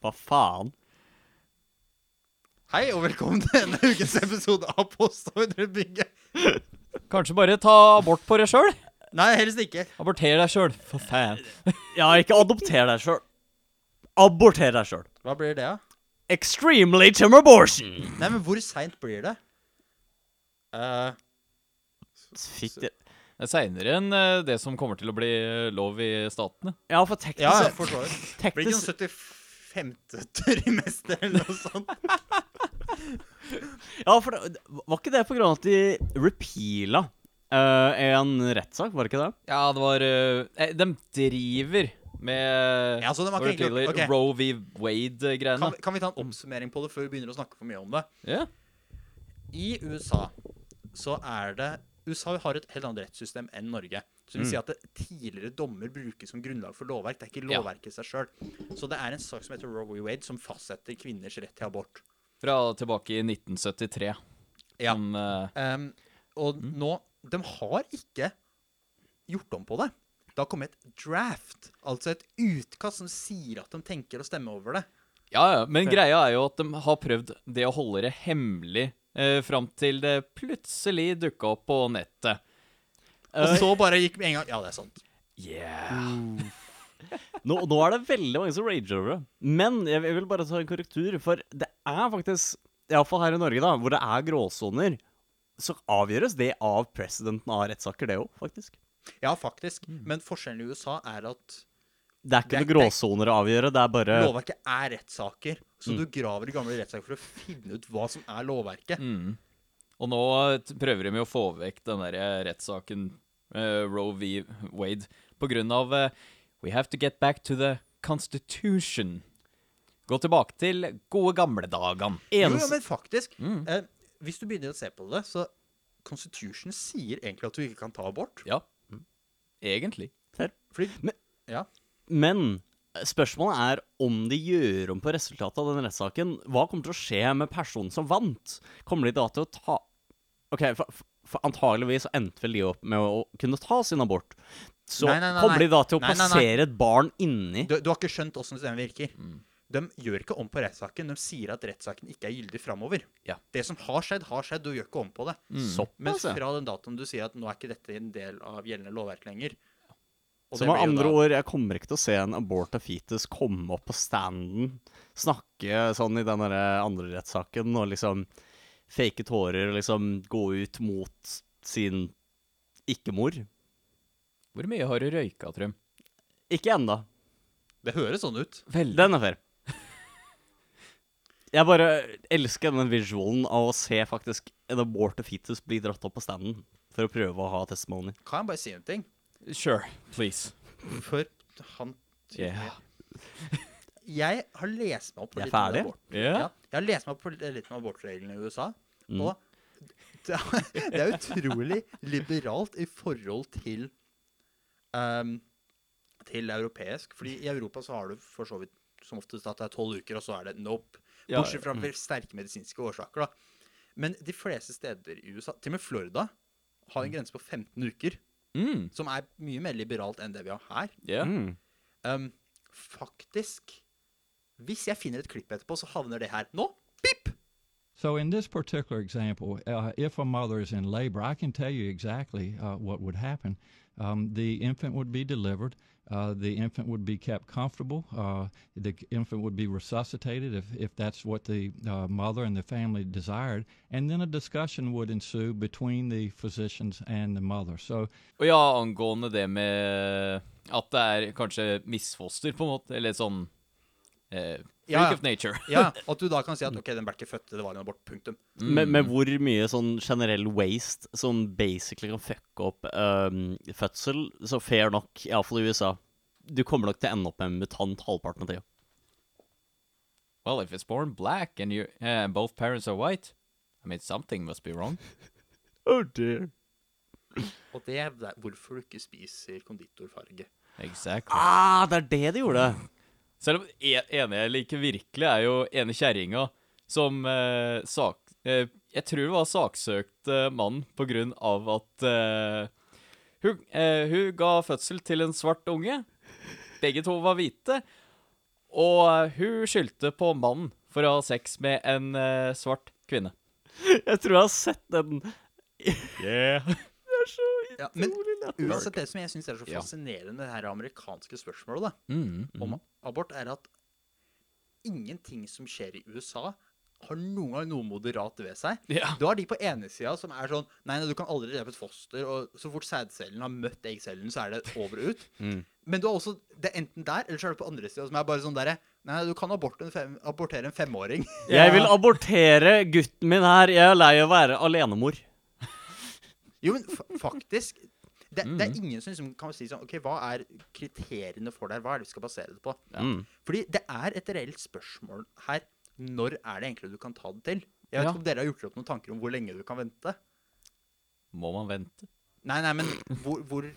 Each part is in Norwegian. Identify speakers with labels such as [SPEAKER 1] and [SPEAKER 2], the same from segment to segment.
[SPEAKER 1] Hva faen?
[SPEAKER 2] Hei, og velkommen til denne ukens episode av Postordrebygget.
[SPEAKER 3] Kanskje bare ta abort på deg sjøl?
[SPEAKER 2] Nei, helst ikke.
[SPEAKER 3] Aborter deg sjøl, for faen.
[SPEAKER 1] Ja, ikke adopter deg sjøl. Aborter deg sjøl.
[SPEAKER 2] Hva blir det, da?
[SPEAKER 1] Extremely term abortion.
[SPEAKER 2] Nei, men hvor seint blir det? Eh,
[SPEAKER 1] Fitte.
[SPEAKER 3] Det er seinere enn eh, det som kommer til å bli eh, lov i statene.
[SPEAKER 1] Ja, for teknisk
[SPEAKER 2] ja, jeg forstår det. Blir
[SPEAKER 1] teknisk-
[SPEAKER 2] ikke sånn 75. trimester eller noe sånt?
[SPEAKER 1] Ja, for det, var ikke det på grunn av at de repeala eh, en rettssak, var det ikke det?
[SPEAKER 3] Ja, det var eh, eh, De driver med
[SPEAKER 2] Ja, så de har
[SPEAKER 3] hva
[SPEAKER 2] ikke
[SPEAKER 3] det
[SPEAKER 2] egentlig-
[SPEAKER 3] heter,
[SPEAKER 2] ok.
[SPEAKER 3] Roe v. Wade-greiene.
[SPEAKER 2] Kan, vi- kan vi ta en oppsummering på det før vi begynner å snakke for mye om det?
[SPEAKER 3] Ja.
[SPEAKER 2] I USA så er det USA har et helt annet rettssystem enn Norge. Så det vil si at det, tidligere dommer brukes som grunnlag for lovverk. Det er ikke
[SPEAKER 3] Ja.
[SPEAKER 2] lovverket i seg sjøl. Så det er en sak som heter Roe v. Wade, som fastsetter kvinners rett til abort.
[SPEAKER 3] Fra tilbake i 1973.
[SPEAKER 2] Ja.
[SPEAKER 3] Som, eh,
[SPEAKER 2] Ehm, og
[SPEAKER 1] Mm.
[SPEAKER 2] nå De har ikke gjort om på det. Det har kommet et draft, altså et utkast som sier at de tenker å stemme over det.
[SPEAKER 3] ja, ja. Men greia er jo at de har prøvd det å holde det hemmelig eh, fram til det plutselig dukka opp på nettet.
[SPEAKER 2] Og så bare gikk med en gang Ja, det er sant.
[SPEAKER 3] Yeah.
[SPEAKER 1] Nå, nå er det veldig mange som rager over det. Men jeg, jeg vil bare ta en korrektur, for det er faktisk, iallfall her i Norge, da, hvor det er gråsoner, så avgjøres det av presidenten av rettssaker, det òg, faktisk.
[SPEAKER 2] Ja, faktisk.
[SPEAKER 1] Mm.
[SPEAKER 2] Men forskjellen i USA er at
[SPEAKER 1] Det er
[SPEAKER 2] Det
[SPEAKER 1] ikke
[SPEAKER 2] er-
[SPEAKER 1] noen gråsoner å avgjøre, det er bare
[SPEAKER 2] lovverket er rettssaker. Så
[SPEAKER 1] Mm.
[SPEAKER 2] du graver i gamle rettssaker for å finne ut hva som er lovverket.
[SPEAKER 1] Mm.
[SPEAKER 3] Og nå t- prøver de jo å få vekk den der rettssaken eh, Roe v. Wade på grunn av eh, We have to get back to the constitution. Gå tilbake til gode gamle dagen.
[SPEAKER 2] Jo, jo,
[SPEAKER 1] eneste Mm.
[SPEAKER 2] men faktisk. Eh, hvis du begynner å se på det, så Constitution sier egentlig at du ikke kan ta abort.
[SPEAKER 3] Ja, egentlig.
[SPEAKER 2] Fordi,
[SPEAKER 1] Men-
[SPEAKER 2] ja.
[SPEAKER 1] Men spørsmålet er om de gjør om på resultatet av den rettssaken. Hva kommer til å skje med personen som vant? Kommer de da til å ta Ok, for, for antageligvis så endte vel de opp med å kunne ta sin abort. Så
[SPEAKER 2] Nei, nei, nei,
[SPEAKER 1] kommer de da
[SPEAKER 2] nei.
[SPEAKER 1] til å
[SPEAKER 2] Nei, nei, nei.
[SPEAKER 1] plassere et barn inni
[SPEAKER 2] Du, du har ikke skjønt åssen systemet virker. De gjør ikke om på rettssaken. De sier at rettssaken ikke er gyldig framover.
[SPEAKER 3] Ja.
[SPEAKER 2] Det som har skjedd, har skjedd. Du gjør ikke om på det. Men
[SPEAKER 1] såpass, ja.
[SPEAKER 2] fra den datoen du sier at nå er ikke dette en del av gjeldende lovverk lenger
[SPEAKER 1] Så
[SPEAKER 2] Og det
[SPEAKER 1] med
[SPEAKER 2] blir jo
[SPEAKER 1] andre
[SPEAKER 2] da-
[SPEAKER 1] ord, jeg kommer ikke til å se en aborta fetus komme opp på standen, snakke sånn i den derre andre rettssaken og liksom fake tårer og liksom gå ut mot sin ikke-mor.
[SPEAKER 3] Hvor mye har du røyka, Trym?
[SPEAKER 1] Ikke ennå.
[SPEAKER 2] Det høres sånn ut.
[SPEAKER 3] Veldig.
[SPEAKER 1] Den er fair. Jeg bare elsker den visualen av å se faktisk en aborted fetus bli dratt opp på standen for å prøve å ha testimony.
[SPEAKER 2] Kan jeg bare si en ting?
[SPEAKER 3] Sure, please.
[SPEAKER 2] For han
[SPEAKER 3] Yeah.
[SPEAKER 2] Jeg har lest meg opp på
[SPEAKER 1] Jeg er
[SPEAKER 2] litt om
[SPEAKER 1] ferdig.
[SPEAKER 2] abort.
[SPEAKER 3] Ja.
[SPEAKER 2] Ja, jeg har lest meg opp på litt om abortreglene i USA.
[SPEAKER 1] Mm.
[SPEAKER 2] Og det er, det er utrolig liberalt i forhold til ehm, til europeisk. Fordi i Europa så har du for så vidt som oftest at det er tolv uker, og så er det nope.
[SPEAKER 3] Ja, Mm.
[SPEAKER 2] Bortsett fra vel sterke medisinske årsaker, da. Men de fleste steder i USA, til og med Florida, har
[SPEAKER 1] Mm.
[SPEAKER 2] en grense på 15 uker.
[SPEAKER 3] Mm,
[SPEAKER 2] Som er mye mer liberalt enn det vi har her.
[SPEAKER 3] yeah.
[SPEAKER 2] Ehm, faktisk Hvis jeg finner et klipp etterpå, så havner det her. Nå! Pip!
[SPEAKER 4] So, in this particular example, uh, if a mother is in labor, I can tell you exactly uh, what would happen. Um, the infant would be delivered. Uh, the infant would be kept comfortable. Uh, the c- infant would be resuscitated if, if that's what the uh, mother and the family desired. And then a discussion would ensue between the physicians and the mother. So,
[SPEAKER 3] Og ja, angående det med at det er kanskje misfoster, på en måte, eller sånn eh, Freak
[SPEAKER 2] Ja, ja.
[SPEAKER 3] of nature.
[SPEAKER 2] Ja, At du da kan si at ok, den ble ikke født, det var en abort. Punktum.
[SPEAKER 1] Med, med hvor mye sånn generell waste som basically kan fucke opp øhm, fødsel, så fair nok, iallfall i USA. Du kommer nok til å ende opp med en mutant halvparten av tida.
[SPEAKER 3] Well, if it's born black and you and both parents are white, I mean something must be wrong.
[SPEAKER 1] Oh dear.
[SPEAKER 2] Og det er der- hvorfor du ikke spiser konditorfarge.
[SPEAKER 3] Exactly.
[SPEAKER 1] Ah, det er det de gjorde!
[SPEAKER 3] Selv om en, ene jeg liker virkelig, er jo ene kjerringa som eh, sak... Eh, jeg tror det var saksøkt eh, mann på grunn av at eh, hun, eh, hun ga fødsel til en svart unge. Begge to var hvite. Og eh, hun skyldte på mannen for å ha sex med en eh, svart kvinne.
[SPEAKER 1] Jeg tror jeg har sett den.
[SPEAKER 3] Yeah.
[SPEAKER 1] Det er så
[SPEAKER 2] Ja, men
[SPEAKER 1] utrolig lett.
[SPEAKER 2] Uansett, det som jeg syns er så
[SPEAKER 3] Ja.
[SPEAKER 2] fascinerende med det her amerikanske spørsmålet da,
[SPEAKER 3] Mm.
[SPEAKER 2] om abort, er at ingenting som skjer i USA, har noen gang noe moderat ved seg.
[SPEAKER 3] Ja.
[SPEAKER 2] Du har de på ene sida som er sånn Nei, nei, du kan aldri drepe et foster, og så fort sædcellen har møtt eggcellen, så er det over og ut. Men du har også Det er enten der, eller så er det på andre sida, som er bare sånn derre Nei, du kan abort en fem, abortere en femåring.
[SPEAKER 1] Jeg vil abortere gutten min her. Jeg er lei av å være alenemor.
[SPEAKER 2] Jo, men fa- faktisk det, det er ingen som liksom kan si sånn OK, hva er kriteriene for det her? Hva er det vi skal basere det på?
[SPEAKER 1] Mm.
[SPEAKER 2] Fordi det er et reelt spørsmål her. Når er det egentlig du kan ta det til? Jeg vet
[SPEAKER 3] Ja.
[SPEAKER 2] ikke om dere har gjort dere opp noen tanker om hvor lenge du kan vente?
[SPEAKER 3] Må man vente?
[SPEAKER 2] Nei, nei, men hvor, hvor,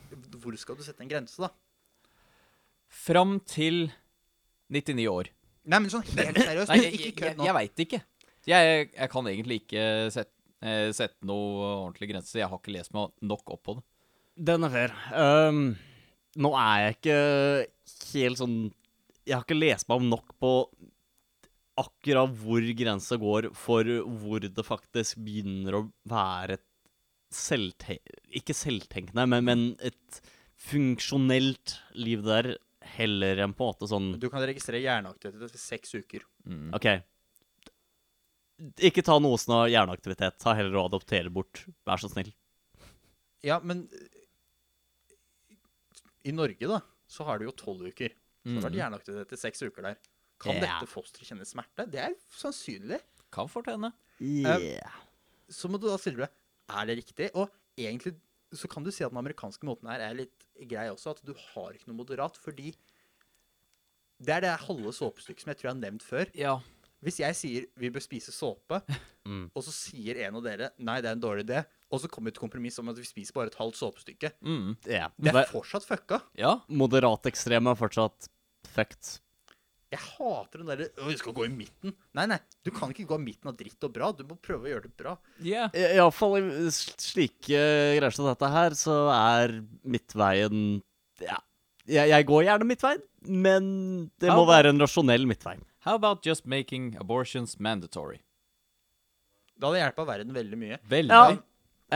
[SPEAKER 2] hvor skal du sette en grense, da?
[SPEAKER 3] Fram til 99 år.
[SPEAKER 2] Nei, men sånn helt seriøst,
[SPEAKER 3] Nei, jeg,
[SPEAKER 2] ikke
[SPEAKER 3] jeg, jeg,
[SPEAKER 2] kødd nå.
[SPEAKER 3] jeg veit ikke. Jeg, jeg kan egentlig ikke sette, eh, sette noe ordentlig grense. Jeg har ikke lest meg nok opp på det.
[SPEAKER 1] Den er fair. Ehm, nå er jeg ikke helt sånn Jeg har ikke lest meg om nok på akkurat hvor grensa går for hvor det faktisk begynner å være et selvte... Ikke selvtenkende, men, men et funksjonelt liv der, heller enn på en måte sånn
[SPEAKER 2] Du kan registrere hjerneaktivitet etter seks uker.
[SPEAKER 1] OK. Ikke ta nosen av hjerneaktivitet. Ta heller og adoptere bort. Vær så snill.
[SPEAKER 2] Ja, men eh, i Norge, da, så har du jo tolv uker. Så det har vært hjerneaktivitet etter seks uker der. Kan
[SPEAKER 1] Ja.
[SPEAKER 2] dette fosteret kjenne smerte? Det er sannsynlig.
[SPEAKER 3] Kan fort hende.
[SPEAKER 2] Så må du da stille deg er det riktig. Og egentlig så kan du si at den amerikanske måten her er litt grei også, at du har ikke noe moderat, fordi det er det halve såpestykket som jeg tror jeg har nevnt før.
[SPEAKER 3] Ja.
[SPEAKER 2] Hvis jeg sier vi bør spise såpe, og så sier en av dere nei, det er en dårlig idé, og så kommer vi til kompromiss om at vi spiser bare et halvt såpestykke,
[SPEAKER 3] Mm.
[SPEAKER 1] Ja.
[SPEAKER 2] det
[SPEAKER 1] Vær-
[SPEAKER 2] er fortsatt fucka.
[SPEAKER 3] Ja.
[SPEAKER 1] moderat ekstreme er fortsatt fucked.
[SPEAKER 2] Jeg hater den derre «Å, Vi skal gå i midten. Nei, nei, du kan ikke gå i midten av dritt og bra. Du må prøve å gjøre det bra.
[SPEAKER 3] Yeah.
[SPEAKER 1] Iallfall i s- slike greier som dette her, så er midtveien Ja. Jeg, jeg går gjerne midtveien, men det må
[SPEAKER 3] Ja.
[SPEAKER 1] være en rasjonell midtvei.
[SPEAKER 3] How about just making abortions mandatory?
[SPEAKER 2] Det hadde hjulpet verden veldig mye.
[SPEAKER 3] Veldig.
[SPEAKER 1] Ja,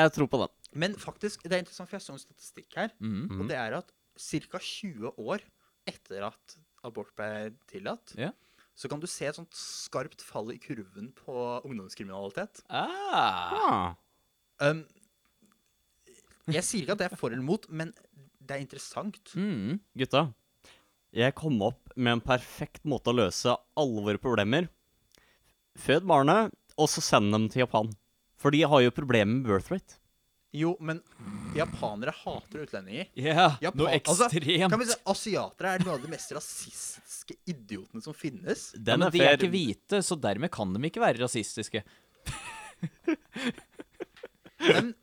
[SPEAKER 1] jeg tror på den.
[SPEAKER 2] Men faktisk, det er interessant, for jeg så en statistikk her,
[SPEAKER 3] Mhm.
[SPEAKER 2] og det er at ca. 20 år etter at abort ble tillatt,
[SPEAKER 3] Ja.
[SPEAKER 2] så kan du se et sånt skarpt fall i kurven på ungdomskriminalitet.
[SPEAKER 3] Ah.
[SPEAKER 1] Ah.
[SPEAKER 2] Um, jeg sier ikke at det er for eller mot, men det er interessant.
[SPEAKER 3] Mm.
[SPEAKER 1] Gutta, jeg kom opp med en perfekt måte å løse alle våre problemer. Fød barnet, og så send dem til Japan. For de har jo problemer med birth rate.
[SPEAKER 2] Jo, men japanere hater utlendinger.
[SPEAKER 3] Yeah.
[SPEAKER 2] Japan-
[SPEAKER 3] Noe
[SPEAKER 2] altså,
[SPEAKER 3] ekstremt.
[SPEAKER 2] kan vi si, asiatere er noen av de mest rasistiske idiotene som finnes.
[SPEAKER 3] ja,
[SPEAKER 1] Den
[SPEAKER 3] men de er
[SPEAKER 1] fair.
[SPEAKER 3] ikke hvite, så dermed kan de ikke være rasistiske. Mm.
[SPEAKER 2] Men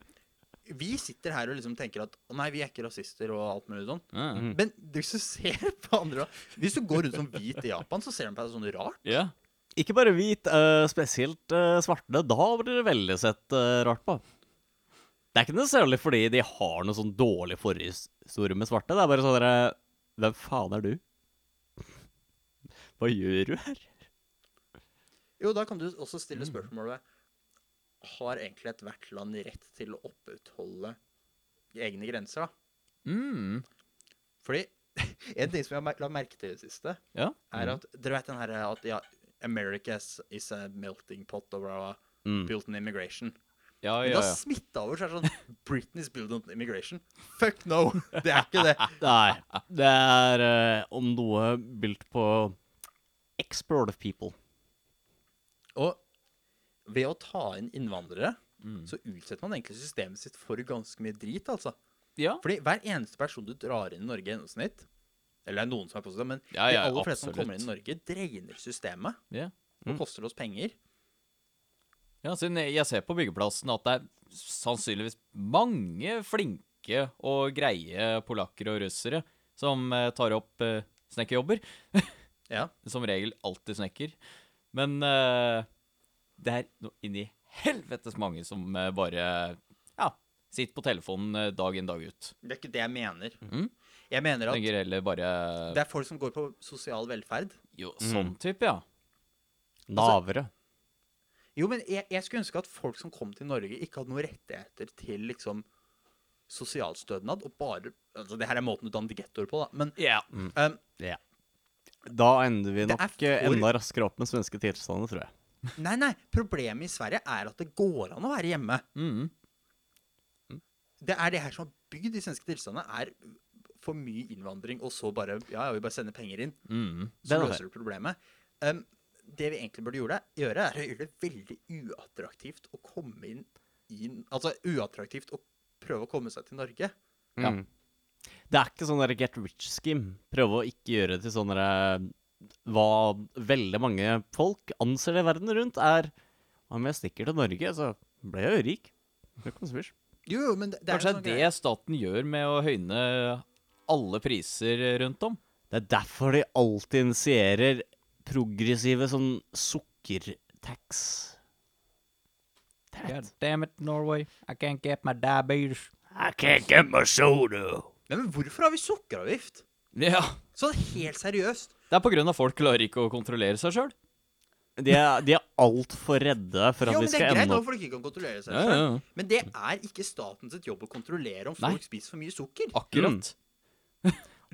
[SPEAKER 2] vi sitter her og liksom tenker at å nei, vi er ikke rasister og alt mulig sånn.
[SPEAKER 3] Mm.
[SPEAKER 2] Men hvis du ser på andre Hvis du går rundt som hvit i Japan, så ser de på deg sånn rart.
[SPEAKER 3] Ja.
[SPEAKER 1] Ikke bare hvit, eh, spesielt eh, svarte. Da blir det veldig sett eh, rart på. Det er ikke necessarily fordi de har noe sånn dårlig forhistorie med svarte. Det er bare sånn derre Hvem faen er du? Hva gjør du her?
[SPEAKER 2] Jo, da kan du også stille
[SPEAKER 3] Mm.
[SPEAKER 2] spørsmålet Har egentlig ethvert land rett til å opprettholde egne grenser, da?
[SPEAKER 3] Mm.
[SPEAKER 2] Fordi en ting som jeg har mer- la merke til i det siste,
[SPEAKER 3] Ja.
[SPEAKER 2] er at Dere vet den her at ja, America is- is a melting pot of blah, blah,
[SPEAKER 1] Mm.
[SPEAKER 2] built on immigration.
[SPEAKER 3] Ja,
[SPEAKER 2] Men
[SPEAKER 3] ja,
[SPEAKER 2] da
[SPEAKER 3] ja.
[SPEAKER 2] smitta over, så er det sånn Britney's built on immigration. Fuck no! Det er ikke det.
[SPEAKER 1] Nei, det er eh, om noe built på export of people.
[SPEAKER 2] Og ved å ta inn innvandrere,
[SPEAKER 3] Mm.
[SPEAKER 2] så utsetter man egentlig systemet sitt for ganske mye drit, altså.
[SPEAKER 3] ja.
[SPEAKER 2] Fordi hver eneste person du drar inn i Norge i gjennomsnitt Eller det er noen som er positive, men
[SPEAKER 3] Ja, ja,
[SPEAKER 2] de aller fleste som
[SPEAKER 3] absolutt. Mm.
[SPEAKER 2] kommer inn i Norge, drener systemet.
[SPEAKER 3] Ja.
[SPEAKER 2] Og koster oss penger.
[SPEAKER 3] ja, siden jeg jeg ser på byggeplassen at det er sannsynligvis mange flinke og greie polakker og russere som eh, tar opp eh, snekkerjobber.
[SPEAKER 2] Ja.
[SPEAKER 3] Som regel alltid snekker. Men eh, det er noe inni helvetes mange som eh, bare ja, sitter på telefonen eh, dag inn, dag ut. Mm.
[SPEAKER 2] Det er ikke det jeg mener. Jeg mener at
[SPEAKER 3] Tenker heller bare
[SPEAKER 2] det er folk som går på sosial velferd.
[SPEAKER 3] Jo, sånn type, ja.
[SPEAKER 2] Altså,
[SPEAKER 1] Navere.
[SPEAKER 2] Jo, men jeg, jeg skulle ønske at folk som kom til Norge, ikke hadde noen rettigheter til liksom sosialstønad, og bare altså, Det her er måten du danner gettoer på, da. Men
[SPEAKER 3] Ja.
[SPEAKER 2] øhm,
[SPEAKER 1] Ja. Da ender vi
[SPEAKER 2] Det er
[SPEAKER 1] nok
[SPEAKER 2] for-
[SPEAKER 1] eh, enda raskere opp med svenske tilstander, tror jeg.
[SPEAKER 2] Nei, nei. Problemet i Sverige er at det går an å være hjemme. Det er det her som har bygd de svenske tilstandene, er for mye innvandring, og så bare Ja, ja, vi bare sender penger inn, så
[SPEAKER 1] Den er
[SPEAKER 2] løser du problemet. Um, det vi egentlig burde gjøre, gjøre, er å gjøre det veldig uattraktivt å komme inn inn- Altså uattraktivt å prøve å komme seg til Norge.
[SPEAKER 3] Ja.
[SPEAKER 1] Mm. Det er ikke sånn der get rich scheme. Prøve å ikke gjøre det til sånn derre Hva veldig mange folk anser det i verden rundt, er Om jeg stikker til Norge, så ble jeg jo rik. Det kom så fyrst.
[SPEAKER 2] Jo, jo, men det, det er
[SPEAKER 3] Kanskje
[SPEAKER 2] jo sånn
[SPEAKER 3] det
[SPEAKER 2] greie.
[SPEAKER 3] er det staten gjør med å høyne alle priser eh, rundt om?
[SPEAKER 1] Det er derfor de alltid initierer progressive sånn sukkertax. Det er
[SPEAKER 3] God damn it, Norway. I can't get my diabetes.
[SPEAKER 1] I can't get my soda.
[SPEAKER 2] Nei, men hvorfor har vi sukkeravgift?
[SPEAKER 3] Ja,
[SPEAKER 2] Sånn helt seriøst.
[SPEAKER 3] det er på grunn av folk klarer ikke å kontrollere seg sjøl.
[SPEAKER 1] De er, de er altfor redde for at
[SPEAKER 2] Jo,
[SPEAKER 1] vi
[SPEAKER 2] men det
[SPEAKER 1] skal
[SPEAKER 2] er greit
[SPEAKER 1] ende
[SPEAKER 2] når
[SPEAKER 1] opp
[SPEAKER 2] folk ikke kan kontrollere seg
[SPEAKER 3] Ja,
[SPEAKER 2] selv.
[SPEAKER 3] ja, ja.
[SPEAKER 2] Men det er ikke statens jobb å kontrollere om
[SPEAKER 3] Nei.
[SPEAKER 2] folk spiser for mye sukker. Mm.
[SPEAKER 3] Akkurat.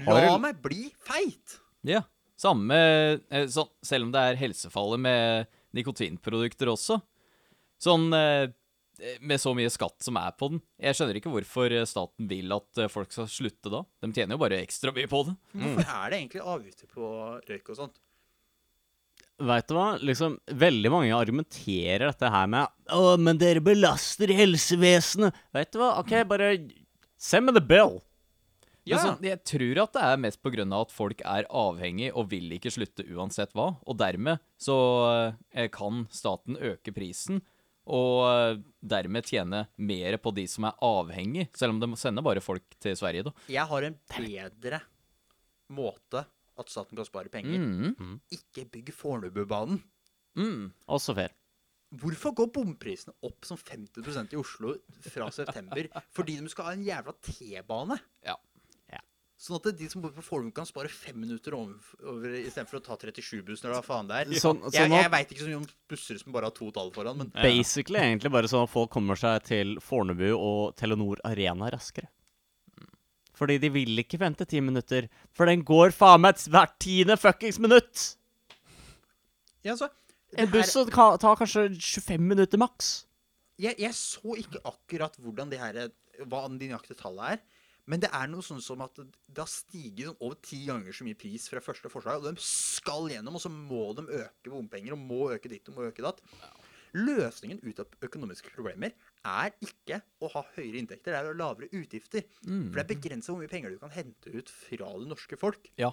[SPEAKER 2] La
[SPEAKER 1] Har du-
[SPEAKER 2] meg bli feit!
[SPEAKER 3] Ja. Samme eh, sånn, Selv om det er helsefarlig med nikotinprodukter også. Sånn eh, med så mye skatt som er på den. Jeg skjønner ikke hvorfor eh, staten vil at eh, folk skal slutte da. De tjener jo bare ekstra mye på det.
[SPEAKER 2] Hvorfor er det egentlig avgifter på røyk og sånt?
[SPEAKER 1] Vet du hva? Liksom, veldig mange argumenterer dette her med Å, men dere belaster helsevesenet. Vet du hva? OK, bare Send meg the bill.
[SPEAKER 3] Men
[SPEAKER 2] Ja.
[SPEAKER 3] sånn, jeg tror at det er mest på grunn av at folk er avhengig og vil ikke slutte uansett hva. Og dermed så eh, kan staten øke prisen og eh, dermed tjene mer på de som er avhengig, selv om de sender bare folk til Sverige, da.
[SPEAKER 2] Jeg har en bedre måte at staten kan spare
[SPEAKER 3] Mm.
[SPEAKER 2] penger. Ikke bygg Fornebubanen.
[SPEAKER 3] mm,
[SPEAKER 1] Også fair.
[SPEAKER 2] Hvorfor går bomprisene opp som 50 i Oslo fra september fordi de skal ha en jævla T-bane?
[SPEAKER 3] Ja.
[SPEAKER 2] Sånn at de som bor på Fornebu, kan spare fem minutter over istedenfor å ta 37-bussen eller hva faen det er.
[SPEAKER 1] Sånn- sånn
[SPEAKER 2] jeg jeg
[SPEAKER 1] at-
[SPEAKER 2] veit ikke så mye om busser som bare har to tall foran, men
[SPEAKER 1] Basically egentlig bare sånn at folk kommer seg til Fornebu og Telenor Arena raskere. Fordi de vil ikke vente ti minutter, for den går faen meg et hvert tiende fuckings minutt!
[SPEAKER 2] ja, altså, det
[SPEAKER 1] En
[SPEAKER 2] her-
[SPEAKER 1] buss som ka- tar kanskje 25 minutter maks.
[SPEAKER 2] jeg, jeg så ikke akkurat hvordan de her, hva de nøyaktige tallene er. Men det er noe sånn som at det har stiget sånn over ti ganger så mye pris fra første forslag, og de skal gjennom, og så må de øke bompenger, og må øke ditt og må øke datt. Løsningen ut av økonomiske problemer er ikke å ha høyere inntekter, det er å ha lavere utgifter.
[SPEAKER 3] Mm.
[SPEAKER 2] For det er begrensa hvor mye penger du kan hente ut fra det norske folk.
[SPEAKER 3] Ja.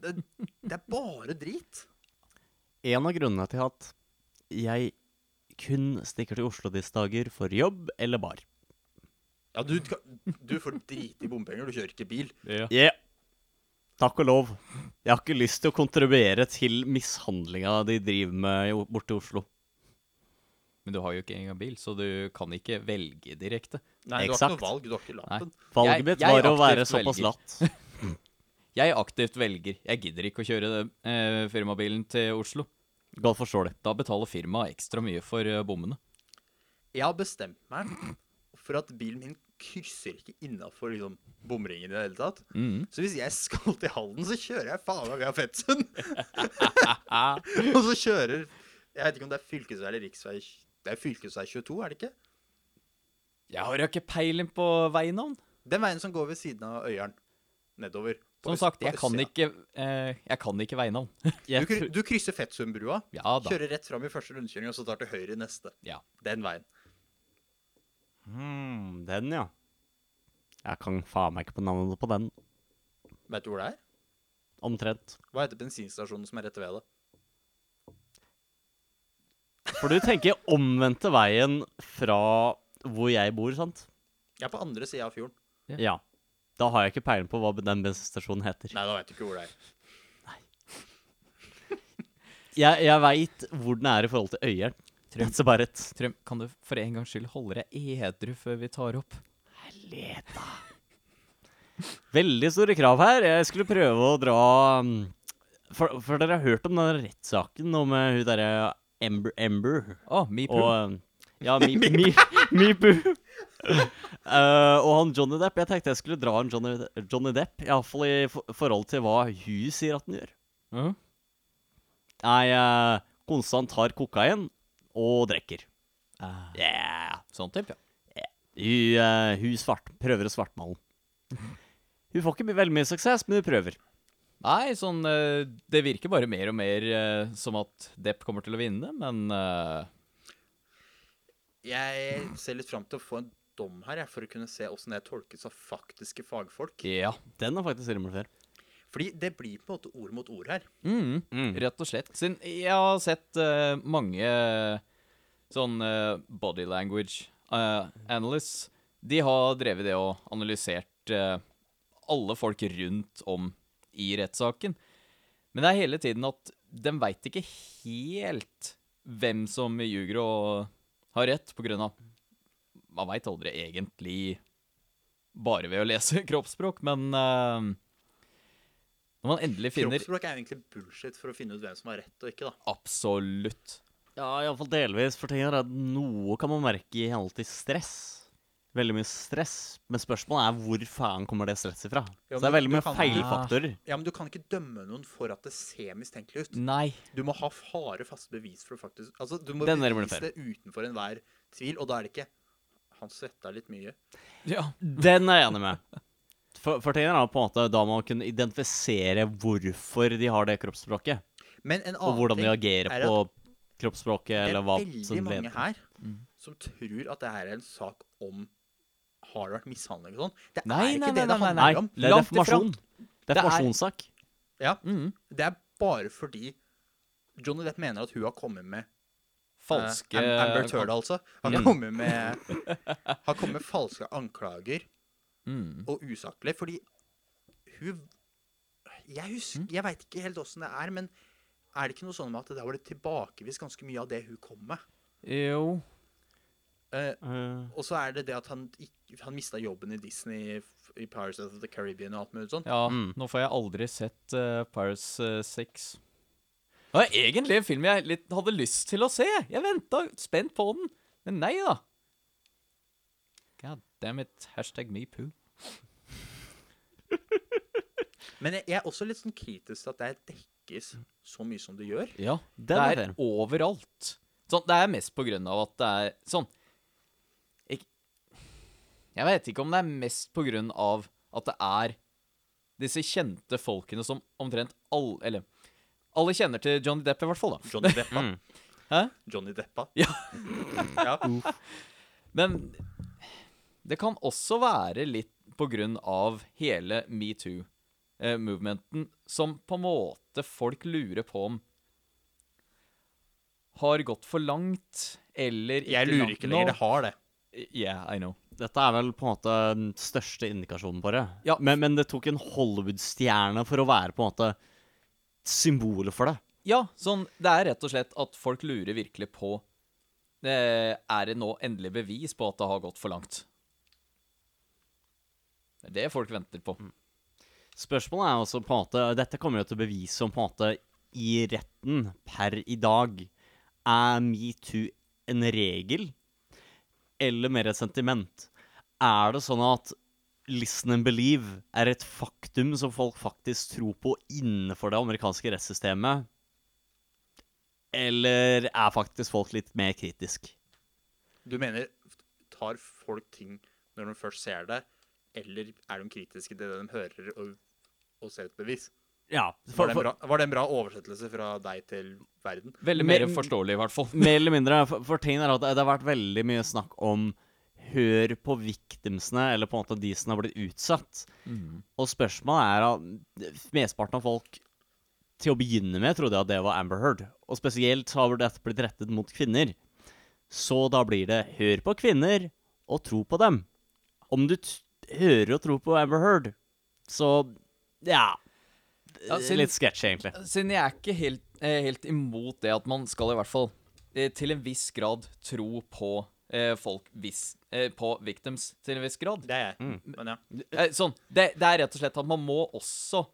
[SPEAKER 2] Det, det er bare drit.
[SPEAKER 1] En av grunnene til at jeg kun stikker til Oslo disse dager for jobb eller bar.
[SPEAKER 2] Ja, du, du får drite i bompenger, du kjører ikke bil.
[SPEAKER 1] Yeah. Takk og lov. Jeg har ikke lyst til å kontribuere til mishandlinga de driver med i O- borte i Oslo.
[SPEAKER 3] Men du har jo ikke engang bil, så du kan ikke velge direkte.
[SPEAKER 2] Nei, du har ikke
[SPEAKER 1] Exakt.
[SPEAKER 2] noe valg, du har ikke lappen.
[SPEAKER 1] Valget
[SPEAKER 3] Jeg-
[SPEAKER 1] mitt
[SPEAKER 3] jeg
[SPEAKER 1] var å være
[SPEAKER 3] aktivt
[SPEAKER 1] såpass
[SPEAKER 3] velger.
[SPEAKER 1] latt.
[SPEAKER 3] Jeg aktivt velger. Jeg gidder ikke å kjøre eh, firmabilen til Oslo.
[SPEAKER 1] Godt forstår det.
[SPEAKER 3] Da betaler firmaet ekstra mye for eh, bommene.
[SPEAKER 2] Jeg har bestemt meg for at bilen min krysser ikke innafor liksom, bomringen i det hele tatt.
[SPEAKER 3] Mm.
[SPEAKER 2] Så hvis jeg skal til Halden, så kjører jeg faen meg via Fetsund!
[SPEAKER 3] Ah,
[SPEAKER 2] og så kjører Jeg vet ikke om det er fylkesvei eller riksvei Det er fylkesvei 22, er det ikke?
[SPEAKER 3] Jeg har jo ikke peiling på veinavn.
[SPEAKER 2] Den veien som går ved siden av Øyeren. Nedover. På
[SPEAKER 3] Som
[SPEAKER 2] øst-
[SPEAKER 3] sagt,
[SPEAKER 2] på
[SPEAKER 3] jeg kan
[SPEAKER 2] østsida.
[SPEAKER 3] ikke, eh, jeg kan ikke veinavn.
[SPEAKER 2] Du,
[SPEAKER 1] Jeg
[SPEAKER 2] kry-
[SPEAKER 1] tro-
[SPEAKER 2] du krysser Fettsundbrua,
[SPEAKER 3] Ja da.
[SPEAKER 2] kjører rett fram i første rundkjøring, og så tar til høyre i neste.
[SPEAKER 3] Ja.
[SPEAKER 2] Den veien.
[SPEAKER 1] Hmm, den, ja. Jeg kan faen meg ikke på navnet på den.
[SPEAKER 2] Vet du hvor det er?
[SPEAKER 1] Omtrent.
[SPEAKER 2] Hva heter bensinstasjonen som er rett ved det?
[SPEAKER 1] For du tenker omvendte veien fra hvor jeg bor, sant?
[SPEAKER 2] Jeg er på andre sida av fjorden.
[SPEAKER 1] Ja. Da har jeg ikke peiling på hva den bensinstasjonen heter.
[SPEAKER 2] Nei, da veit du ikke hvor det er.
[SPEAKER 1] Jeg, jeg veit hvor den er i forhold til Øyeren. That's about it.
[SPEAKER 3] Trym, kan du for en gangs skyld holde deg edru før vi tar opp?
[SPEAKER 1] Helvete. Veldig store krav her. Jeg skulle prøve å dra mm, For, for dere har hørt om den rettssaken om eh, hun derre Ember, Ember
[SPEAKER 3] Å, metoo.
[SPEAKER 1] og eh, Ja, Me- Me- Meepu. Eh, og han Johnny Depp. Jeg tenkte jeg skulle dra en Johnny, Johnny Depp, iallfall i for forhold til hva hun sier at han gjør.
[SPEAKER 3] Ja.
[SPEAKER 1] Nei, eh, konstant tar kokain og drikker.
[SPEAKER 3] Ah,
[SPEAKER 1] Yeah.
[SPEAKER 3] Sånn type, ja.
[SPEAKER 1] Hun, eh, hun svart, prøver å svartmale. Hun får ikke my- veldig mye suksess, men hun prøver.
[SPEAKER 3] Nei, sånn eh, Det virker bare mer og mer eh, som at Depp kommer til å vinne, men eh,
[SPEAKER 2] Jeg ser litt fram til å få en dom her, jeg, for å kunne se åssen det tolkes av faktiske fagfolk.
[SPEAKER 3] Ja.
[SPEAKER 1] Den har faktisk rimelig før.
[SPEAKER 2] Fordi det blir på en måte ord mot ord her.
[SPEAKER 3] Mm, Rett og slett. Siden jeg har sett eh, mange sånn eh, body language eh, analysts. De har drevet det og analysert eh, alle folk rundt om i rettssaken. Men det er hele tiden at de veit ikke helt hvem som ljuger og har rett, på grunn av Man veit aldri egentlig bare ved å lese kroppsspråk, men eh, når man endelig finner
[SPEAKER 2] Kroppsspråk er jo egentlig bullshit for å finne ut hvem som har rett og ikke, da.
[SPEAKER 3] Absolutt.
[SPEAKER 1] Ja, iallfall delvis. For tingen er at noe kan man merke i henhold til stress. Veldig mye stress. Men spørsmålet er hvor faen kommer det stresset fra?
[SPEAKER 2] Ja,
[SPEAKER 1] Så det er
[SPEAKER 2] men
[SPEAKER 1] veldig
[SPEAKER 2] du
[SPEAKER 1] mye
[SPEAKER 2] kan-
[SPEAKER 1] feilfaktorer.
[SPEAKER 2] Ja, men du kan ikke dømme noen for at det ser mistenkelig ut.
[SPEAKER 3] Nei.
[SPEAKER 2] Du må ha harde, faste bevis for å faktisk Altså, du må
[SPEAKER 1] Den er rimelig
[SPEAKER 2] bevise det utenfor enhver tvil, og da er det ikke Han svetta litt mye.
[SPEAKER 3] Ja.
[SPEAKER 1] Den er jeg enig med. For, for tingen er på en måte da man kunne identifisere hvorfor de har det kroppsspråket.
[SPEAKER 2] Men en annen
[SPEAKER 1] Og hvordan de
[SPEAKER 2] ting
[SPEAKER 1] agerer
[SPEAKER 2] er at
[SPEAKER 1] på kroppsspråket, eller hva
[SPEAKER 2] Det er
[SPEAKER 1] som
[SPEAKER 2] veldig mange
[SPEAKER 1] leder.
[SPEAKER 2] her som tror at det her er en sak om har det vært mishandling og sånn. Det er
[SPEAKER 3] Nei,
[SPEAKER 2] ikke det
[SPEAKER 3] nei, nei,
[SPEAKER 2] det
[SPEAKER 3] nei,
[SPEAKER 2] handler
[SPEAKER 1] Nei,
[SPEAKER 2] om.
[SPEAKER 1] det er
[SPEAKER 3] Langt ifra.
[SPEAKER 1] deformasjon.
[SPEAKER 3] er-
[SPEAKER 1] Deformasjonssak.
[SPEAKER 2] Ja,
[SPEAKER 3] Mm.
[SPEAKER 2] det er bare fordi Johnny Depp mener at hun har kommet med
[SPEAKER 3] Falske
[SPEAKER 2] eh, Am- Amber Turd, altså. Har
[SPEAKER 1] Mm.
[SPEAKER 2] kommet med Har kommet med falske anklager
[SPEAKER 3] Mm.
[SPEAKER 2] og usaklig, fordi hun Jeg husker Jeg veit ikke helt åssen det er, men er det ikke noe sånn med at det der var det tilbakevist ganske mye av det hun kom med?
[SPEAKER 3] Jo.
[SPEAKER 2] Eh,
[SPEAKER 1] Eh,
[SPEAKER 2] og så er det det at han, ikk- han mista jobben i Disney f- i Pirates of the Caribbean og alt mulig sånt.
[SPEAKER 3] Ja,
[SPEAKER 1] Mm.
[SPEAKER 3] nå får jeg aldri sett eh, Pirates eh, 6. Det var egentlig en film jeg litt hadde lyst til å se. Jeg venta spent på den, men nei da. God damn it. Hashtag me poo.
[SPEAKER 2] Men jeg, jeg er også litt sånn kritisk til at det dekkes så mye som det gjør.
[SPEAKER 3] Ja, det
[SPEAKER 1] Den er
[SPEAKER 3] er overalt. Sånn, det er mest på grunn av at det er sånn Ik Jeg vet ikke om det er mest på grunn av at det er disse kjente folkene som omtrent alle Eller alle kjenner til Johnny Depp, i hvert fall. da.
[SPEAKER 2] Johnny Deppa.
[SPEAKER 1] Mm.
[SPEAKER 3] Hæ?
[SPEAKER 2] Johnny Deppa.
[SPEAKER 3] Ja.
[SPEAKER 2] ja.
[SPEAKER 3] Men det kan også være litt på grunn av hele metoo-movementen, som på en måte folk lurer på om har gått for langt, eller ikke
[SPEAKER 2] Jeg lurer ikke lenger. Det har det.
[SPEAKER 3] Det. Yeah, I know.
[SPEAKER 1] Dette er vel på en måte den største indikasjonen på det.
[SPEAKER 3] Ja.
[SPEAKER 1] Men, men det tok en Hollywood-stjerne for å være på en måte symbolet for det.
[SPEAKER 3] Ja, sånn, det er rett og slett at folk lurer virkelig på eh, Er det nå endelig bevis på at det har gått for langt? Det er det folk venter på.
[SPEAKER 2] Mm.
[SPEAKER 1] Spørsmålet er også på en måte Dette kommer jo til å bevise om på en måte i retten per i dag. Er metoo en regel, eller mer et sentiment? Er det sånn at listen and believe er et faktum som folk faktisk tror på innenfor det amerikanske rettssystemet? Eller er faktisk folk litt mer kritisk?
[SPEAKER 2] Du mener tar folk ting når de først ser det, eller er de kritiske til det de hører og, og ser et bevis?
[SPEAKER 1] Ja.
[SPEAKER 2] Var
[SPEAKER 1] For,
[SPEAKER 2] det, en
[SPEAKER 1] for,
[SPEAKER 2] bra, var det en bra oversettelse fra deg til verden?
[SPEAKER 3] Veldig
[SPEAKER 1] Men-
[SPEAKER 3] mer forståelig, i hvert fall.
[SPEAKER 1] mer eller mindre. For, for tingen er at det, det har vært veldig mye snakk om Hør på victimsene, eller på en måte de som har blitt utsatt.
[SPEAKER 3] Mm.
[SPEAKER 1] Og spørsmålet er at mesteparten av folk til å begynne med trodde at det var Amber Heard. Og spesielt har vel dette blitt rettet mot kvinner. Så da blir det hør på kvinner, og tro på dem. Om du t hører og tror på Amber Heard, så ja.
[SPEAKER 3] Ja, siden-
[SPEAKER 1] Litt sketsjy, egentlig.
[SPEAKER 3] Siden jeg er ikke helt, eh, helt imot det at man skal i hvert fall eh, til en viss grad tro på eh, folk vis, eh, på victims til en viss grad.
[SPEAKER 2] Det er jeg.
[SPEAKER 1] Mm.
[SPEAKER 2] Men ja.
[SPEAKER 3] Eh, sånn, det, det er rett og slett at man må også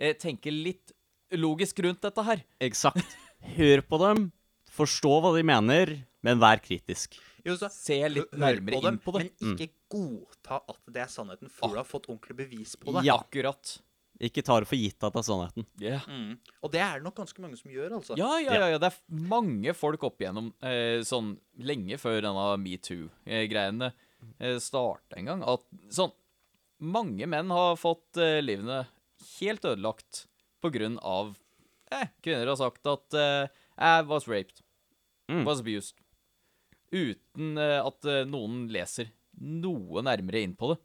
[SPEAKER 3] eh, tenke litt logisk rundt dette her.
[SPEAKER 1] Eksakt. Hør på dem, forstå hva de mener, men vær kritisk.
[SPEAKER 2] Jo, så,
[SPEAKER 3] Se litt
[SPEAKER 2] hø- hør
[SPEAKER 3] nærmere inn på det.
[SPEAKER 2] Men
[SPEAKER 1] Mm.
[SPEAKER 2] ikke godta at det er sannheten før du har fått ordentlig bevis på det.
[SPEAKER 1] Ah. Ja.
[SPEAKER 3] Akkurat.
[SPEAKER 1] Ikke ta det for gitt at det er sannheten.
[SPEAKER 3] Ja.
[SPEAKER 2] Mm. Og det er det nok ganske mange som gjør, altså.
[SPEAKER 3] Ja, ja, ja, ja. Det er f- mange folk opp igjennom eh, sånn lenge før denne metoo-greiene eh, starta en gang, at sånn Mange menn har fått eh, livene helt ødelagt på grunn av eh, Kvinner har sagt at eh, I was raped.
[SPEAKER 1] Mm.
[SPEAKER 3] Was abused. Uten eh, at eh, noen leser noe nærmere inn på det.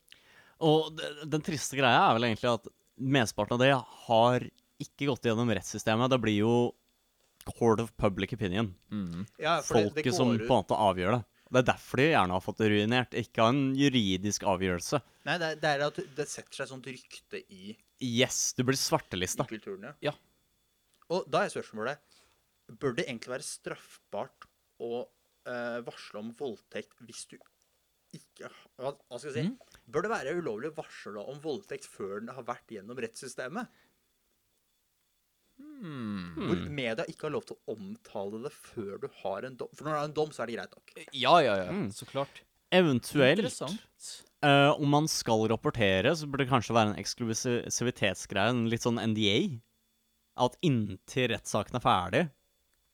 [SPEAKER 1] Og d- den triste greia er vel egentlig at mesteparten av det har ikke gått gjennom rettssystemet. Det blir jo court of public opinion.
[SPEAKER 2] Ja, for det-
[SPEAKER 1] Folket
[SPEAKER 2] det
[SPEAKER 1] som
[SPEAKER 2] går
[SPEAKER 1] på
[SPEAKER 2] ut-
[SPEAKER 1] en måte avgjør det. Det er derfor de gjerne har fått det ruinert, ikke av en juridisk avgjørelse.
[SPEAKER 2] Nei, det er, det er at det setter seg sånt rykte i,
[SPEAKER 1] Yes, du blir
[SPEAKER 2] i
[SPEAKER 1] svartelista.
[SPEAKER 2] kulturen,
[SPEAKER 3] Ja.
[SPEAKER 2] Og da er spørsmålet Bør det egentlig være straffbart å eh, varsle om voldtekt hvis du ikke ha- Hva, hva skal jeg si?
[SPEAKER 1] Mm.
[SPEAKER 2] Bør det være ulovlig å varsle om voldtekt før den har vært gjennom rettssystemet?
[SPEAKER 3] Hmm.
[SPEAKER 1] Mm.
[SPEAKER 2] Hvor media ikke har lov til å omtale det før du har en dom. For når du har en dom, så er det greit nok.
[SPEAKER 3] Ja, ja, ja. Så klart.
[SPEAKER 1] Eventuelt
[SPEAKER 3] Interessant.
[SPEAKER 1] Eh, om man skal rapportere, så burde det kanskje være en eksklusivitetsgreie, en litt sånn NDA. At inntil rettssaken er ferdig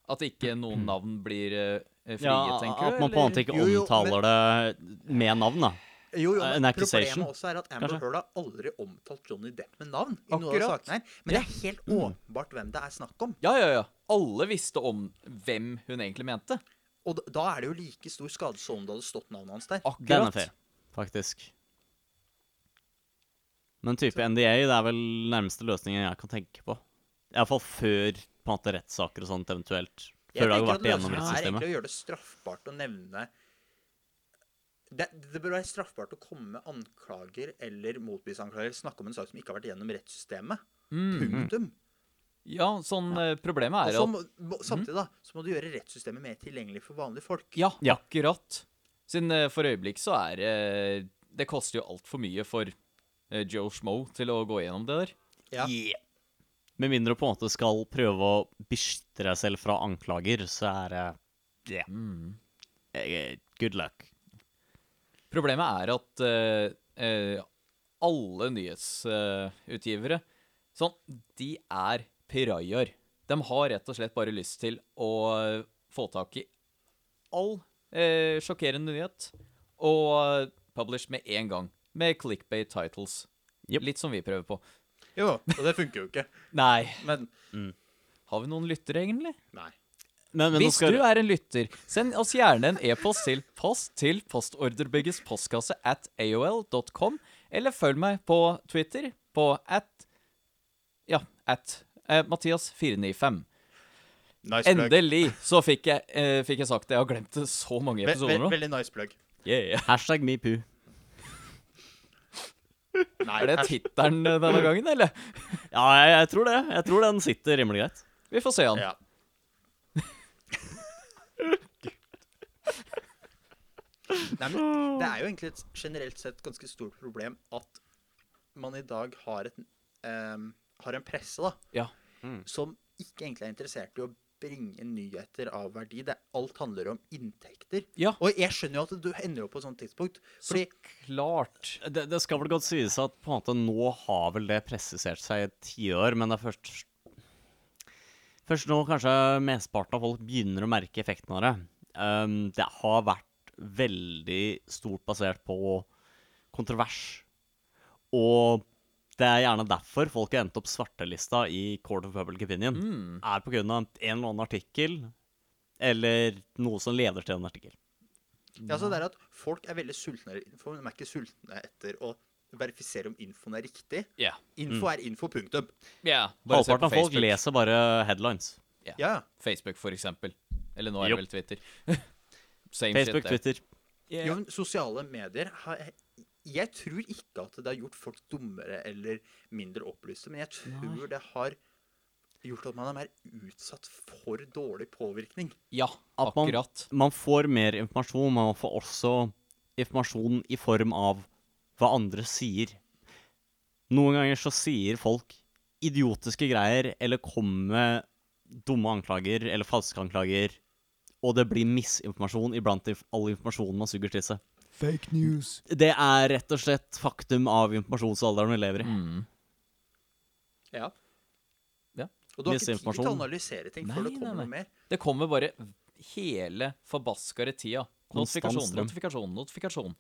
[SPEAKER 3] At ikke noen navn blir eh, frie,
[SPEAKER 1] Mm. ja,
[SPEAKER 3] tenker du?
[SPEAKER 1] At man på en måte ikke
[SPEAKER 2] Jo, jo,
[SPEAKER 1] omtaler det med navn, da.
[SPEAKER 2] Jo, jo,
[SPEAKER 1] Eh,
[SPEAKER 2] men
[SPEAKER 1] en accusation,
[SPEAKER 2] Problemet også er at Amber
[SPEAKER 1] kanskje?
[SPEAKER 2] Heard har aldri omtalt Johnny Depp med navn. i noen av
[SPEAKER 3] Akkurat.
[SPEAKER 2] sakene her. Men det er helt
[SPEAKER 1] Mm.
[SPEAKER 2] åpenbart hvem det er snakk om.
[SPEAKER 3] Ja, ja, ja. Alle visste om hvem hun egentlig mente.
[SPEAKER 2] Og d- da er det jo like stor skade som om det hadde stått navnet hans der.
[SPEAKER 1] Den er
[SPEAKER 3] Akkurat.
[SPEAKER 1] fair, faktisk. Men type NDA det er vel nærmeste løsningen jeg kan tenke på. Iallfall før på en måte rettssaker og sånt eventuelt. Før det har
[SPEAKER 2] tenker at
[SPEAKER 1] vært igjennom
[SPEAKER 2] løsningen er
[SPEAKER 1] rettssystemet.
[SPEAKER 2] egentlig å gjøre det straffbart å nevne det, det bør være straffbart å komme med anklager eller motbevisanklager. Snakke om en sak som ikke har vært gjennom rettssystemet. Punktum.
[SPEAKER 3] Ja, sånn eh, Problemet
[SPEAKER 2] Og
[SPEAKER 3] er
[SPEAKER 2] så
[SPEAKER 3] at
[SPEAKER 2] må, må, samtidig da, så må du gjøre rettssystemet mer tilgjengelig for vanlige folk.
[SPEAKER 3] Ja,
[SPEAKER 1] Ja.
[SPEAKER 3] akkurat. Siden eh, for øyeblikk så er det Det koster jo altfor mye for eh, Joe Schmoe til å gå gjennom det der.
[SPEAKER 2] Ja.
[SPEAKER 1] Yeah. Med mindre du på en måte skal prøve å beskytte deg selv fra anklager, så er det Ja.
[SPEAKER 3] Mm.
[SPEAKER 1] Eh, Good luck.
[SPEAKER 3] Problemet er at eh, eh, alle nyhetsutgivere sånn, de er pirajaer. De har rett og slett bare lyst til å eh, få tak i all eh, sjokkerende nyhet og eh, publish med en gang. Med clickbait titles.
[SPEAKER 1] Jep.
[SPEAKER 3] Litt som vi prøver på.
[SPEAKER 2] Jo, og det funker jo ikke.
[SPEAKER 3] Nei,
[SPEAKER 2] Men
[SPEAKER 3] har vi noen lyttere, egentlig?
[SPEAKER 2] nei.
[SPEAKER 1] Men, men nå
[SPEAKER 3] Hvis
[SPEAKER 1] skal-
[SPEAKER 3] du er en lytter, send oss gjerne en e-post til post til postordrebyggets postkasse at aol.com, eller følg meg på Twitter på at ja, at eh, Mathias495.
[SPEAKER 2] Nice
[SPEAKER 3] Endelig så fikk jeg, eh, fikk jeg sagt det. Jeg har glemt det så mange
[SPEAKER 2] Ve ve
[SPEAKER 3] episoder nå.
[SPEAKER 2] veldig nice plug.
[SPEAKER 3] Yeah.
[SPEAKER 1] Hashtag metoo.
[SPEAKER 2] Nei,
[SPEAKER 3] Er det
[SPEAKER 2] her-
[SPEAKER 3] tittelen eh, denne gangen, eller?
[SPEAKER 1] Ja, jeg, jeg tror det. Jeg tror den sitter rimelig greit.
[SPEAKER 3] Vi får se han.
[SPEAKER 2] Ja. Nei, men det er jo egentlig et generelt sett ganske stort problem at man i dag har, et, em, har en presse da,
[SPEAKER 3] Ja.
[SPEAKER 2] som ikke egentlig er interessert i å bringe nyheter av verdi. Det, alt handler om inntekter.
[SPEAKER 3] Ja.
[SPEAKER 2] Og jeg skjønner jo at du ender opp på et sånt tidspunkt. Fordi
[SPEAKER 3] Klart.
[SPEAKER 1] Det, det skal vel godt sies at på en måte nå har vel det presisert seg i et tiår, men det er først Først nå kanskje mesteparten av folk begynner å merke effekten av det. Ehm, det har vært veldig stort basert på kontrovers. Og det er gjerne derfor folk har endt opp svartelista i Court of Public Opinion.
[SPEAKER 3] Mm.
[SPEAKER 1] Er på grunn av en eller annen artikkel, eller noe som leder til en artikkel.
[SPEAKER 2] Ja, så det er at folk er veldig sultne etter info, men de er ikke sultne etter å verifisere om infoen er riktig.
[SPEAKER 3] Ja.
[SPEAKER 2] Info er info, punktum.
[SPEAKER 3] Ja, Bare se
[SPEAKER 1] Halvparten
[SPEAKER 3] på
[SPEAKER 1] av folk
[SPEAKER 3] Facebook.
[SPEAKER 1] leser bare headlines.
[SPEAKER 2] Ja, ja.
[SPEAKER 3] Facebook, for eksempel. Eller nå er
[SPEAKER 1] Jopp.
[SPEAKER 3] det vel Twitter. Same
[SPEAKER 1] Facebook,
[SPEAKER 3] shit, det.
[SPEAKER 1] Twitter.
[SPEAKER 3] Yeah.
[SPEAKER 2] Jo, men sosiale medier har Jeg tror ikke at det har gjort folk dummere eller mindre opplyste, men jeg tror det har gjort at man er mer utsatt for dårlig påvirkning.
[SPEAKER 3] Ja,
[SPEAKER 1] At man-
[SPEAKER 3] akkurat.
[SPEAKER 1] Man får mer informasjon, men man får også informasjon i form av hva andre sier. Noen ganger så sier folk idiotiske greier, eller kommer med dumme anklager eller falske anklager, og det blir misinformasjon iblant inf- all informasjonen man suger til seg.
[SPEAKER 3] Fake news.
[SPEAKER 1] Det er rett og slett faktum av informasjonsalderen vi lever i.
[SPEAKER 3] Mm.
[SPEAKER 2] Ja.
[SPEAKER 3] Ja.
[SPEAKER 2] Og du har ikke tid til å
[SPEAKER 1] Misinformasjon.
[SPEAKER 2] analysere ting
[SPEAKER 3] Nei,
[SPEAKER 2] før det kommer
[SPEAKER 3] nei, nei.
[SPEAKER 2] noe mer.
[SPEAKER 3] Det kommer bare hele forbaskede tida.
[SPEAKER 1] Konstant
[SPEAKER 3] Notifikasjon,
[SPEAKER 1] strøm.
[SPEAKER 3] notifikasjon, notifikasjon.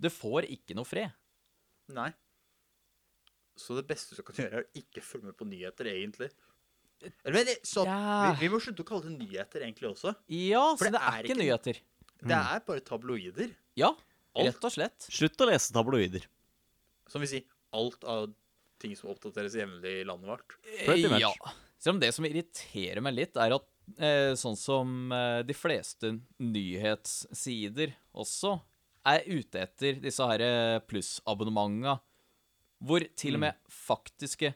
[SPEAKER 3] Du får ikke noe fred.
[SPEAKER 2] Nei. Så det beste du kan gjøre, er å ikke følge med på nyheter, egentlig. Eller, men, det- så,
[SPEAKER 3] Ja.
[SPEAKER 2] vi, vi må slutte å kalle det nyheter, egentlig også.
[SPEAKER 3] Ja,
[SPEAKER 2] For
[SPEAKER 3] så det er ikke nyheter.
[SPEAKER 2] Det
[SPEAKER 3] Mm.
[SPEAKER 2] er bare tabloider.
[SPEAKER 3] Ja,
[SPEAKER 2] Alt.
[SPEAKER 3] rett og slett.
[SPEAKER 1] Slutt å lese tabloider.
[SPEAKER 2] Som vil si alt av ting som oppdateres jevnlig i landet vårt.
[SPEAKER 1] Pretty much.
[SPEAKER 3] Eh, Ja. Selv om det som irriterer meg litt, er at eh, sånn som eh, de fleste nyhetssider også er ute etter disse her eh, plussabonnementa, hvor til og med faktiske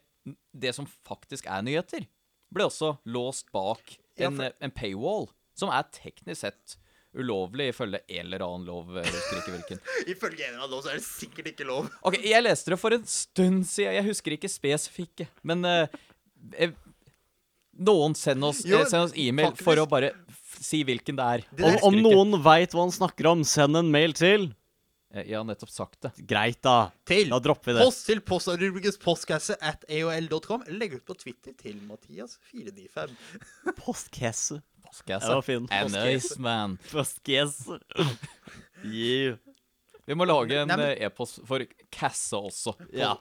[SPEAKER 3] Det som faktisk er nyheter, ble også låst bak
[SPEAKER 2] Ja,
[SPEAKER 3] en,
[SPEAKER 2] for-
[SPEAKER 3] eh, en paywall, som er teknisk sett ulovlig ifølge en eller annen lov. eh, husker ikke hvilken.
[SPEAKER 2] Ifølge en eller annen lov så er det sikkert ikke lov.
[SPEAKER 3] Ok, jeg leste det for en stund siden. Jeg husker ikke spesifikke, men eh, eh, Noen send oss,
[SPEAKER 2] Jo,
[SPEAKER 3] eh, send oss e-mail for å
[SPEAKER 2] faktisk-
[SPEAKER 3] bare f si hvilken det er.
[SPEAKER 2] Det
[SPEAKER 1] Om,
[SPEAKER 2] der-
[SPEAKER 1] om noen veit hva han snakker om, send en mail til
[SPEAKER 3] Eh, Jeg har nettopp sagt det.
[SPEAKER 1] Greit, da.
[SPEAKER 2] Til
[SPEAKER 1] Da dropper vi det.
[SPEAKER 2] post til postarubikens postkasse at aol.com, eller legg ut på Twitter til Mathias495.
[SPEAKER 1] Postkasse. Det
[SPEAKER 3] Postkasse.
[SPEAKER 1] var fin.
[SPEAKER 3] Eh, nice, man.
[SPEAKER 1] Postkasse. Yeah.
[SPEAKER 3] Vi må lage en
[SPEAKER 2] Nei, men-
[SPEAKER 3] eh, e-post for Kasse også.
[SPEAKER 1] Ja.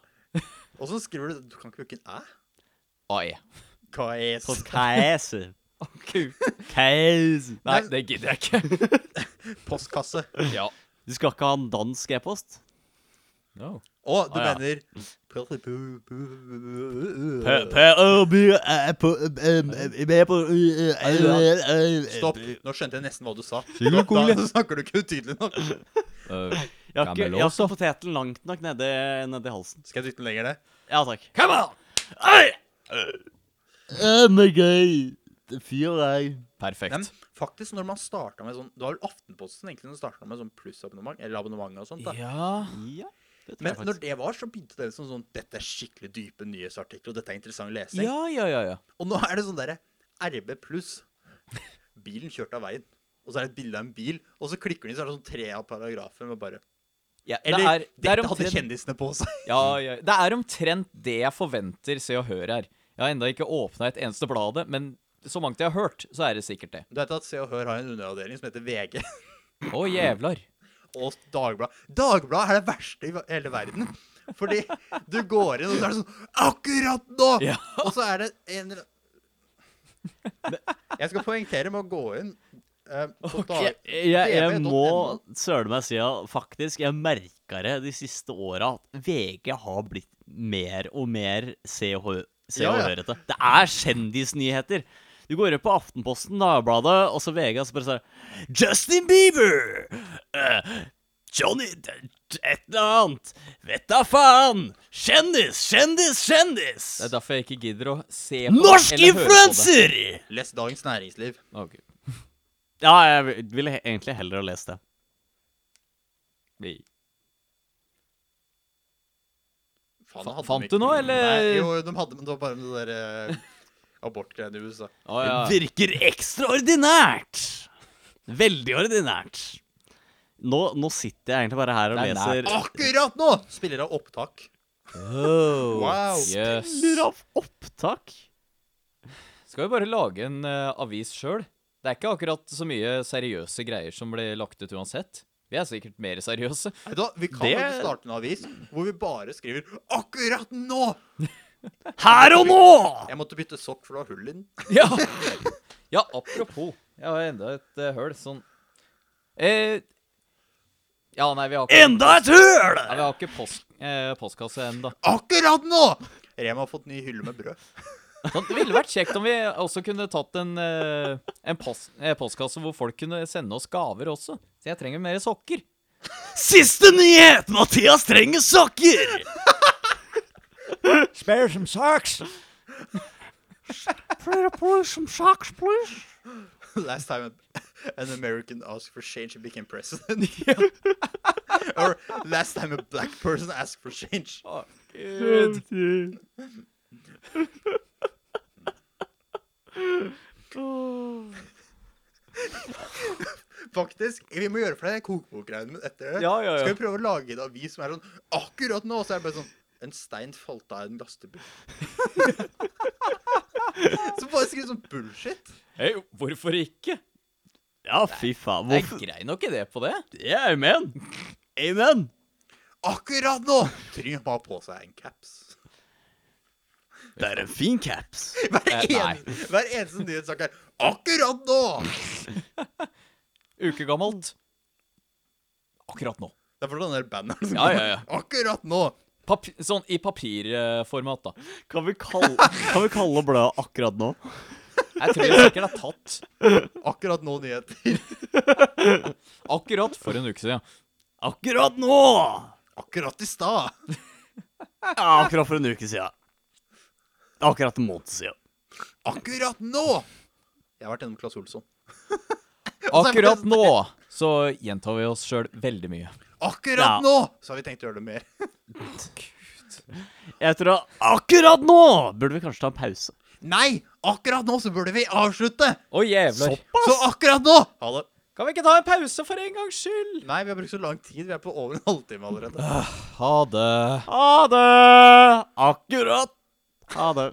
[SPEAKER 2] Og så skriver du Du kan ikke bruke en æ?
[SPEAKER 3] AE.
[SPEAKER 2] Hva er s-
[SPEAKER 1] Postkasse.
[SPEAKER 3] Ku.
[SPEAKER 1] Kasse.
[SPEAKER 3] Nei, det gidder jeg ikke.
[SPEAKER 2] postkasse?
[SPEAKER 3] Ja.
[SPEAKER 1] Du skal ikke ha en dansk e-post?
[SPEAKER 3] No.
[SPEAKER 2] Å, du
[SPEAKER 1] Ah, ja.
[SPEAKER 2] mener Stopp. Nå skjønte jeg nesten hva du sa. Da, da snakker du ikke utydelig nok.
[SPEAKER 3] Eh,
[SPEAKER 1] Jeg har ikke,
[SPEAKER 3] Gammel
[SPEAKER 1] jeg har
[SPEAKER 3] også.
[SPEAKER 1] ikke poteten langt nok nedi, nedi halsen.
[SPEAKER 2] Skal jeg dytte den lenger ned?
[SPEAKER 1] Ja takk.
[SPEAKER 3] come on!
[SPEAKER 1] Fyr deg.
[SPEAKER 3] Perfekt.
[SPEAKER 2] Men faktisk, når man starta med sånn Det var vel Aftenposten egentlig som starta med sånn plussabonnement, eller abonnement og sånt. da.
[SPEAKER 3] Ja
[SPEAKER 1] Ja, det tror
[SPEAKER 2] Men
[SPEAKER 1] jeg
[SPEAKER 2] når
[SPEAKER 1] faktisk.
[SPEAKER 2] det var, så begynte det som sånn Dette er skikkelig dype nyhetsartikler, og dette er interessant lesning.
[SPEAKER 3] Ja, ja, ja. ja.
[SPEAKER 2] Og nå er det sånn derre RB pluss. Bilen kjørt av veien. Og så er det et bilde av en bil, og så klikker de, så er det sånn tre av paragrafer med bare
[SPEAKER 3] ja det
[SPEAKER 2] Eller
[SPEAKER 3] er, det er
[SPEAKER 2] dette hadde
[SPEAKER 3] omtrent
[SPEAKER 2] kjendisene på seg.
[SPEAKER 3] Ja, ja. Det er omtrent det jeg forventer Se og Hør her. Jeg har enda ikke åpna et eneste blad, av det, men så mangt jeg har hørt, så er det sikkert det.
[SPEAKER 2] Du vet at Se og Hør har en underavdeling som heter VG
[SPEAKER 3] Å, jævlar.
[SPEAKER 2] og Dagbladet. Dagbladet er det verste i ve- hele verden. Fordi du går inn, og så er det sånn Akkurat nå!
[SPEAKER 3] Ja.
[SPEAKER 2] Og så er det en eller annen Jeg skal poengtere med å gå inn eh, på
[SPEAKER 1] Jeg,
[SPEAKER 2] dag...
[SPEAKER 1] jeg, jeg
[SPEAKER 2] TV.no.
[SPEAKER 1] må søle meg si at faktisk, jeg merka det de siste åra at VG har blitt mer og mer se og hø- se
[SPEAKER 2] Ja,
[SPEAKER 1] og
[SPEAKER 2] ja.
[SPEAKER 1] hørete. Det er kjendisnyheter. Du går opp på Aftenposten, Dagbladet, og så VG, og så bare sånn Justin Bieber! eh, Johnny d- d- Et eller annet! Vet da faen! Kjendis, kjendis, kjendis!
[SPEAKER 3] Det er derfor jeg ikke gidder å se på
[SPEAKER 1] Norsk
[SPEAKER 3] eller høre på det.
[SPEAKER 1] influenser!
[SPEAKER 2] Les Dagens Næringsliv.
[SPEAKER 3] Å, Gud.
[SPEAKER 1] Ja, jeg ville he- egentlig heller ha lest det.
[SPEAKER 3] Vi-
[SPEAKER 2] Faen,
[SPEAKER 3] Fa-
[SPEAKER 2] hadde de
[SPEAKER 3] fant
[SPEAKER 2] ikke-
[SPEAKER 3] du noe, eller?
[SPEAKER 2] Nei, jo, de hadde, men det var bare det der eh, abortgreiene i USA.
[SPEAKER 3] Å, ja.
[SPEAKER 1] Det virker ekstraordinært! Veldig ordinært. Nå, nå sitter jeg egentlig bare her og
[SPEAKER 3] Det er
[SPEAKER 1] leser
[SPEAKER 2] Akkurat nå spiller av opptak. Wow.
[SPEAKER 3] Yes.
[SPEAKER 1] Lurer av opptak.
[SPEAKER 3] Skal vi bare lage en eh, avis sjøl? Det er ikke akkurat så mye seriøse greier som blir lagt ut uansett. Vi er sikkert mer seriøse.
[SPEAKER 2] Nei, da, vi kan
[SPEAKER 1] Det-
[SPEAKER 2] jo ikke starte en avis hvor vi bare skriver 'akkurat nå'.
[SPEAKER 1] Her og nå!
[SPEAKER 2] Jeg måtte bytte sokk, for det var hull i den.
[SPEAKER 3] Ja. ja, apropos. Jeg har enda et eh, høl, sånn eh, Ja, nei, vi har ikke
[SPEAKER 1] Enda et høl!
[SPEAKER 3] Nei, vi har ikke post, eh, postkasse ennå.
[SPEAKER 2] Akkurat nå! Rema har fått ny hylle med brød.
[SPEAKER 3] Sånn, det ville vært kjekt om vi også kunne tatt en, eh, en post, eh, postkasse hvor folk kunne sende oss gaver også. Så jeg trenger mer sokker.
[SPEAKER 1] Siste nyhet! Mathias trenger sokker!
[SPEAKER 3] Spare some socks!
[SPEAKER 1] Operator, please, some socks, please.
[SPEAKER 2] Last time an American asked for change, he became president. or last time a black person asked for change. Faktisk, vi må gjøre for det kokebokgreiene men etter det.
[SPEAKER 3] Ja, ja, ja.
[SPEAKER 2] Skal vi prøve å lage en avis som er sånn Akkurat nå så er det bare sånn En stein falt av en lastebil. så bare skriv sånn bullshit.
[SPEAKER 3] Hei, hvorfor ikke?
[SPEAKER 1] Ja, fy faen.
[SPEAKER 3] Jeg
[SPEAKER 1] Hvorfor?
[SPEAKER 3] grei nok idé på det.
[SPEAKER 1] Yeah, amen. Amen.
[SPEAKER 2] Akkurat nå! Trym har på seg en caps.
[SPEAKER 1] Det er en fin caps.
[SPEAKER 2] Hver,
[SPEAKER 3] Eh, nei.
[SPEAKER 2] en, hver eneste nyhetssak er Akkurat nå!
[SPEAKER 3] Uke gammelt. Akkurat nå.
[SPEAKER 2] Det er for den der banneren som
[SPEAKER 3] Ja, ja, ja.
[SPEAKER 2] kommer. Akkurat nå!
[SPEAKER 3] Papi sånn i papirformat, da.
[SPEAKER 1] Kan vi kalle, kan vi kalle bladet akkurat nå?
[SPEAKER 3] Jeg tror jeg sikkert er tatt
[SPEAKER 2] Akkurat nå nyheter.
[SPEAKER 3] akkurat for en uke siden.
[SPEAKER 1] Akkurat nå!
[SPEAKER 2] Akkurat i stad.
[SPEAKER 1] Ja, akkurat for en uke siden. Akkurat en måned siden.
[SPEAKER 2] Akkurat nå! Jeg har vært gjennom Claes Olsson.
[SPEAKER 3] Akkurat nå så gjentar vi oss sjøl veldig mye.
[SPEAKER 1] Ja.
[SPEAKER 2] Akkurat nå! Så har vi tenkt å gjøre det mer.
[SPEAKER 1] Jeg tror at akkurat nå burde vi kanskje ta en pause.
[SPEAKER 2] Nei! Akkurat nå så burde vi avslutte!
[SPEAKER 3] Å, jævler.
[SPEAKER 2] Så akkurat nå! Ha det.
[SPEAKER 3] Kan vi ikke ta en pause for en gangs skyld?
[SPEAKER 2] Nei, vi har brukt så lang tid. Vi er på over en halvtime allerede.
[SPEAKER 3] Ha det.
[SPEAKER 1] Ha det! Akkurat. Ha det.